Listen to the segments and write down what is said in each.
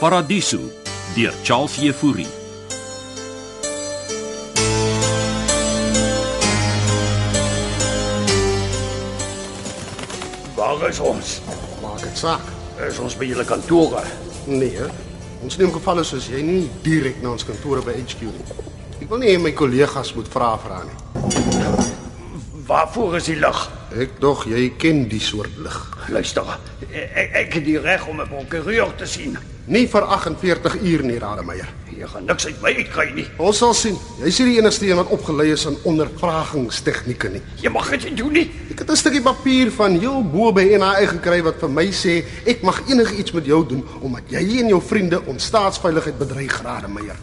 Paradiso deur Charles Jefouri. Waar is ons? Maak dit saak. Is ons by julle kantore? Nee, hè? ons neem gevalle soos jy nie direk na ons kantore by HQ nie. Ek wil nie hê my kollegas moet vra vra nie. Waarvoor is die lig? Ek dog jy ken die soort lig. Luister, ek, ek het die reg om 'n prokureur te sien. Nie vir 48 uur nie, Rademeier. Jy gaan niks uit my uitkry nie. Ons sal sien. Jy's nie die enigste een wat opgelei is aan ondervragingstegnieke nie. Jy mag dit nie doen nie. Ek het 'n stukkie papier van heel bo by NHI gekry wat vir my sê ek mag enigiets met jou doen omdat jy en jou vriende ons staatsveiligheid bedreig, Rademeier.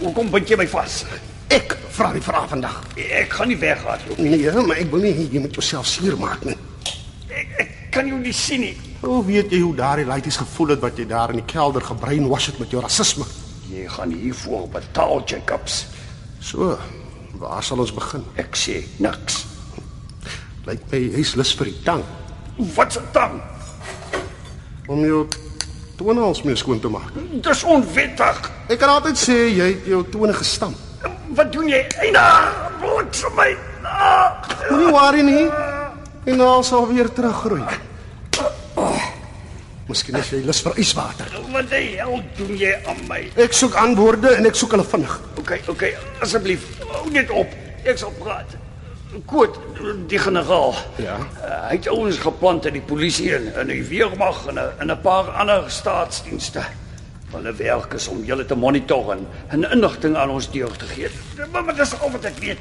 Hoekom bind jy my vas? Ek vra die vraag vandag. Ek gaan nie weggaan nie. Nee, maar ek wil nie hê jy moet jouself seermaak nie. Ek, ek kan jou nie sien nie. Hoe weet jy hoe daardie laities gevoel het wat jy daar in die kelder gebreinwash het met jou rasisme? Jy gaan hiervoor betaal, Jacobs. So, waar sal ons begin? Ek sê niks. Lyk my hy's lus vir die tang Wat se tang? om jou tonels mee skoon te maak. Dis onwettig. Ek kan altyd sê jy het jou tone gestamp. Wat doen jy? Eina, bloed vir my. Ah, Moenie worry nie. En nou sal weer teruggroei. Miskien is jy lus vir yswater. wat die hel doen jy aan my? Ek soek antwoorde en ek soek hulle vinnig. Oké, oké, alsjeblieft. Hou dit op. Ik zal praten. Kort, die generaal. Ja. Eh, hij heeft ons gepland in die politie en, en die weermacht en, en een paar andere staatsdiensten. Hulle werk is om jullie te monitoren en inlichting aan ons deur te geven. Maar, maar dat is al wat ik weet.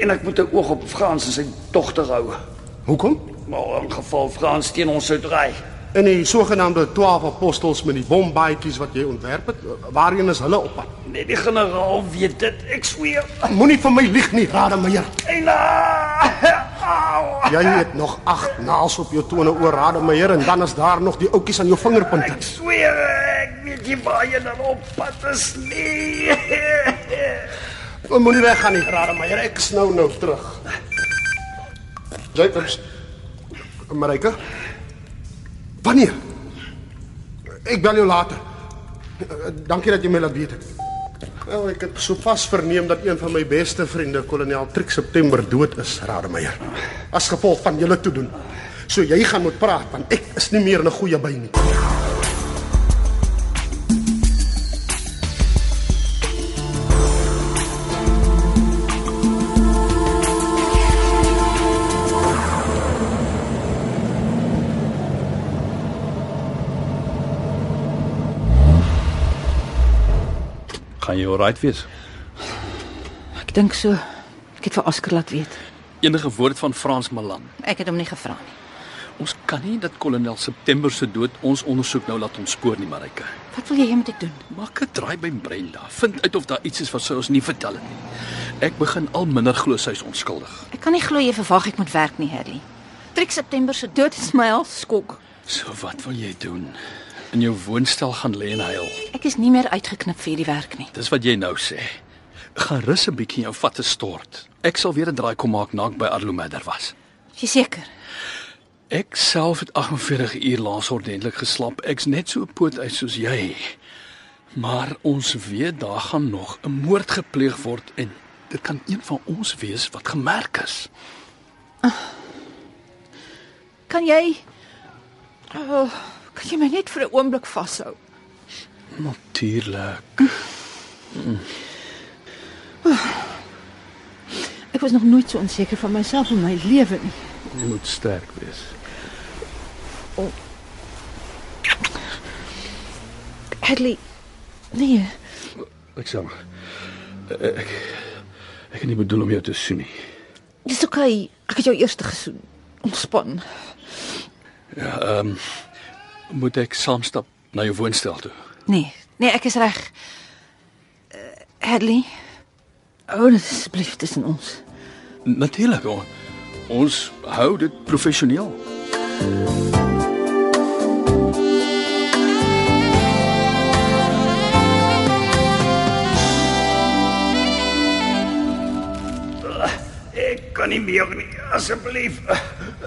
En ik moet een oog op Frans en zijn dochter houden. Hoekom? Maar in geval Frans tegen ons zou draaien. In die sogenaamde 12 apostels met die bombaadjies wat jy ontwerp het, waarheen is hulle op pad? Nee, die generaal weet dit. Ik zweer. Moenie vir my lieg nie, Rademeier. En, ah, au. Jy het nog 8 naels op jou tone oor Rademeier en dan is daar nog die oudjies aan jou vingerpunte. Ek sweer ek weet nie waar jy dan op pad is nie. Moenie weggaan nie, Rademeier. Ek is nou nou terug. Jacobs. Marika. Wanneer? Ek bel jou later. Eh, Dankie dat jy my laat weet. het. Wel, ek het sopas verneem dat een van my beste vriende, kolonel Trik September dood is, Rademeier. As gevolg van julle toedoen. So jy gaan moet praat want ek is nie meer in 'n goeie by nie. Gaan jy alright wees? Ek dink so. Ek het vir Oscar laat weet. Enige woord van Frans Malan. Ek het hom nie gevra nie. Ons kan nie dat kolonel September se dood ons ondersoek nou laat ontspoor nie, Marika. Wat wil jy hê moet ek doen? Maak 'n draai by Brenda. Vind uit of daar iets is wat sy ons nie vertel het nie. Ek begin al minder glo sy is onskuldig. Ek kan nie glo jy verwag ek moet werk nie, Harry. Trek September se dood is my al skok. So wat wil jy doen? In jou woonstel gaan lê en huil. Ek is nie meer uitgeknip vir hierdie werk nie. Dis wat jy nou sê. Gaan rus 'n bietjie jou vatte stort. Ek sal weer 'n draai kom maak naak by Arlomader was. Is Jy seker? Ek self het 48 uur laas ordentlik geslaap. Ek's net so poot uit soos jy. Maar ons weet daar gaan nog 'n moord gepleeg word en dit kan een van ons wees wat gemerk is. Kan jy oh, kan jy my net vir 'n oomblik vashou? Natuurlik. Ek was nog nooit so onseker van myself in my lewe nie. Jy moet sterk wees. Hadley. Nee, Ek sê ek ek het nie bedoel om jou te soen nie. dis oké. Okay. Ek het jou eers gesoen. Ontspan. Moet ek saamstap na jou woonstel toe? Nee, nee, ek is reg. Uh, Hadley. Hou dit asseblief tussen ons. Natuurlik. On, ons hou dit professioneel. Ek kan nie meer nie, asseblief.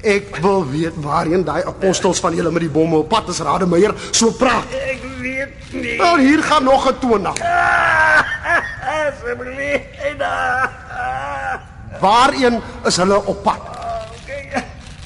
Ek wil weet waarheen daai apostels van julle met die bomme op pad is Rademeier so praat. Ek weet nie. Wel Nou, hier gaan nog 'n toona. Asseblief. Waarheen is hulle op pad? Okay.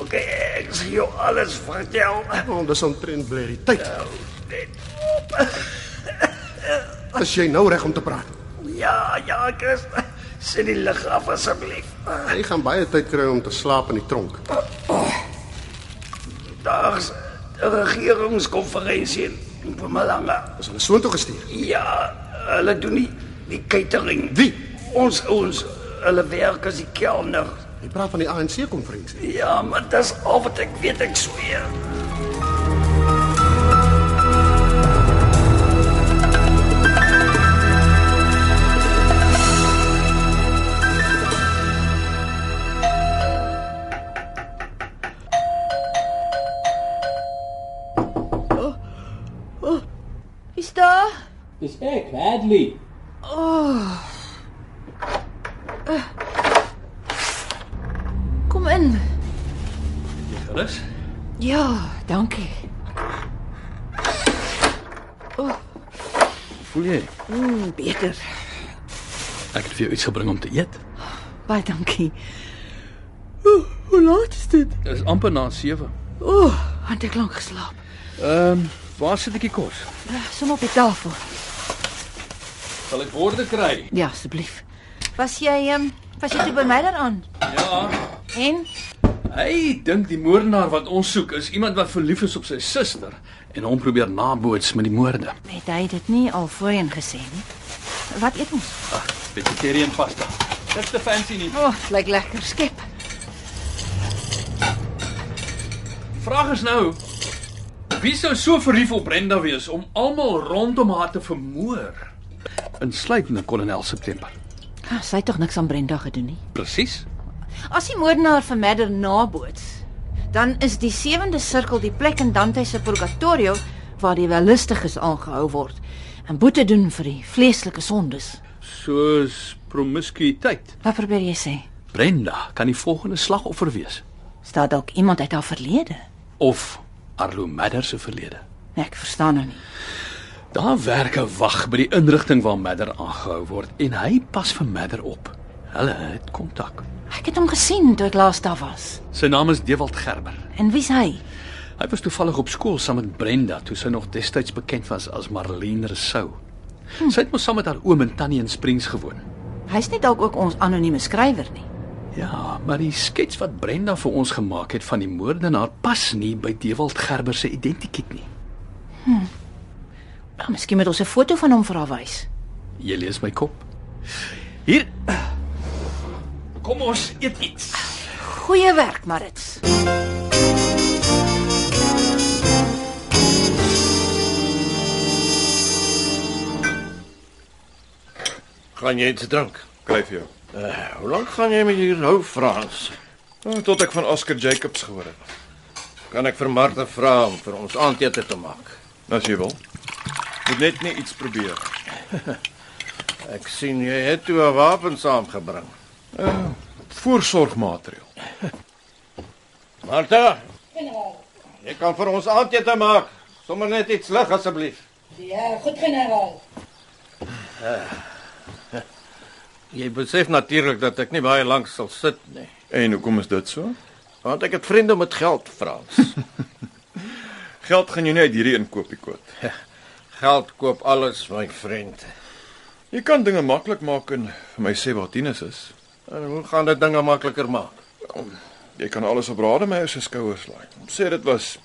Okay, ek sien jou alles vertel. Oh, dis omtrent bly die tyd. Net op. As jy nou reg om te praat. Ja, ja, Chris. Sit die lig af asseblief. Jy gaan baie tyd kry om te slaap in die tronk. Daar's 'n regeringskonferensie in Mpumalanga. Is hulle soontoe gestuur? Ja, hulle doen die, die catering. Wie? Ons ons hulle werk as die kelner. Jy praat van die ANC konferensie. Ja, maar dis al wat ek weet, ek sweer. Wie's daar? Dis ek, Hadley. Oh. Eh. Kom in. Jy gerus? Ja, dankie. Voel jy? Mm, beter. Ek het vir jou iets gebring om te eet. Baie dankie. Hoe, hoe laat is dit? Dit is amper na 7. Ooh, het ek lank geslaap. Ehm, um, waar sit ek die kos? Eh, Som op die tafel. Sal ek borde kry? Ja, asseblief. Was jy ehm was jy toe by my daaraan? Ja. En Hy dink die moordenaar wat ons soek is iemand wat verlief is op sy suster en hom probeer naboots met die moorde. het hy dit nie al voorheen gesê nie? Wat eet ons? Vegetarian pasta. Dis te fancy nie. O, oh, lyk lekker skep. Die vraag is nou, wie sou so verlief op Brenda wees om almal rondom haar te vermoor? Insluitende kolonel September. Ah, sy het tog niks aan Brenda gedoen nie. Presies. As die moordenaar van Madder naboots, dan is die sewende sirkel die plek in Dante se purgatorio waar die wellustiges aangehou word en boete doen vir die vleeslike sondes. Soos promiskuïteit. Wat probeer jy sê? Brenda kan die volgende slagoffer wees Staat dalk iemand uit haar verlede? of Arlo Madder se verlede. Ek verstaan nou nie. Daar werk 'n wag by die inrigting waar Madder aangehou word en hy pas vir Madder op. Hulle het kontak. Ek het hom gesien toe ek laas daar was. Sy naam is Dewald Gerber. En wie's hy? Hy was toevallig op skool saam met Brenda toe sy nog destyds bekend was as Marlene Resou. Sy het mos saam met haar oom en tannie in Springs gewoon. Hy's nie dalk ook ons anonieme skrywer nie. Ja, maar die skets wat Brenda vir ons gemaak het van die moordenaar pas nie by Dewald Gerber se identiteit nie. Maar Nou, miskien moet ons 'n foto van hom vir haar wys. Jy lees my kop. Hier. Kom ons eet iets. Goeie werk, Marits. Gaan jy iets drink? Eh, Kry vir jou. Hoe lank gaan jy met hier hou Frans? Ah, Tot ek van Oscar Jacobs gehoor het. Kan ek vir Martha vra om vir ons aandete te maak? As jy wil. Moet net nie iets probeer. Ek sien jy het toe 'n wapen saamgebring. Eh, Voorsorgmaatreël. Martha, jy kan vir ons aandete maak. Sommige net iets lig asseblief. Ja, goed generaal. Jy besef natuurlik dat ek nie baie lank sal sit nie, En hoekom is dit so? want ek het vriende met geld, Frans. Geld gaan jy nie uit hierdie inkoopie koop. geld koop alles, my vriend. Jy kan dinge maklik maak en vir my sê wat Tinus is. En hoe gaan dit dinge makliker maak? Jy kan alles op Rademeier se skouers laai. Sê dit was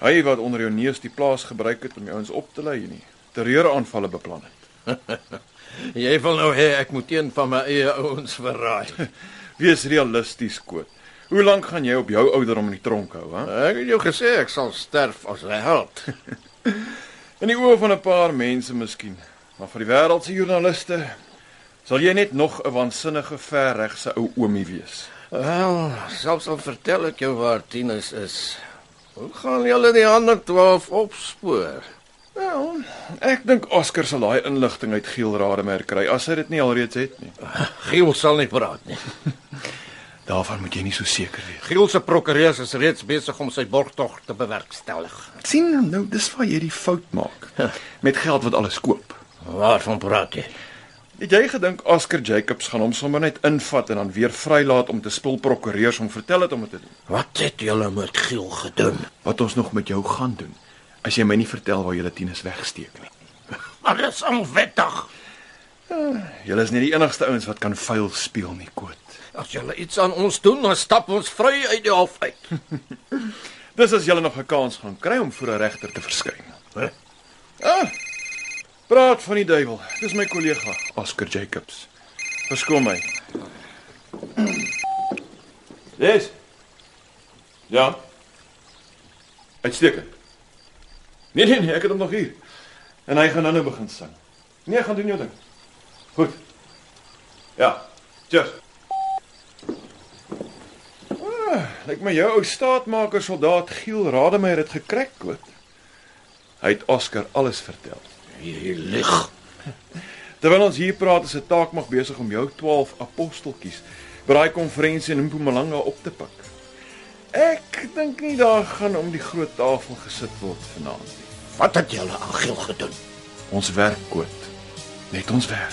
hy wat onder jou neus die plaas gebruik het om jou ons op te lei en nie terreuraanvalle beplan het. Jy wil nou hê ek moet een van my eie ouens verraai. Wees realisties, Koot. Hoe lank gaan jy op jou ouderdom in die tronk hou, hè? Ek het jou gesê ek sal sterf as 'n held. In die oë van 'n paar mense miskien, maar vir die wêreld se joernaliste sal jy net nog 'n waansinnige verregse ou oomie wees. Wel, selfs al vertel ek jou waar Tinus is. Hoe gaan julle die ander 12 opspoor? Wel, ek dink Oscar sal daai inligting uit Gielrademer kry as hy dit nie alreeds het nie. Giel sal nie praat nie. Daarvan moet jy nie so seker wees. Giel se prokureurs is reeds besig om sy borgtog te bewerkstellig. Ek sien nou dis waar jy die fout maak. Met geld wat alles koop. Waarvan praat jy? Het jy gedink Oscar Jacobs gaan hom sommer net invat en dan weer vrylaat om te spul prokureurs om vertel het om dit te doen? Wat het julle met Giel gedoen? Wat ons nog met jou gaan doen as jy my nie vertel waar jy Tinus wegsteek nie. Alles onwettig. Jy is nie die enigste ouens wat kan vuil speel nie, Koot. As julle iets aan ons doen, dan stap ons vry uit die hof uit. Dis as jy nog 'n kans gaan kry om voor 'n regter te verskyn. Hè? Ah. Praat van die duiwel. Dis my kollega, Oscar Jacobs. Verskoon my. Dis. Ja. Uitstekend. Nee nee nee, ek het hom nog hier. En hy gaan nou-nou begin sing. Nee, gaan doen jou ding. Goed. Ja. Cheers. Ah, Lyk my jou ou staatmaker soldaat Giel Rademeier het gekrek koot. Hy het Oscar alles vertel. Jy lieg. Terwyl ons hier praat, is 'n taak mag besig om jou 12 aposteltjies by daai konferensie in Mpumalanga op te pik. Ek dink nie daar gaan om die groot tafel gesit word vanaand nie. Wat het julle aan Giel gedoen? Ons werk koot. Net ons werk.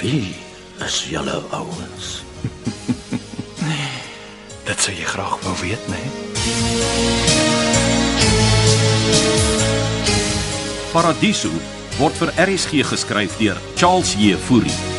Wie is julle ouens? Dit sou jy graag wou weet, né? Nee? Paradiso word vir RSG geskryf deur Charles J. Fourie.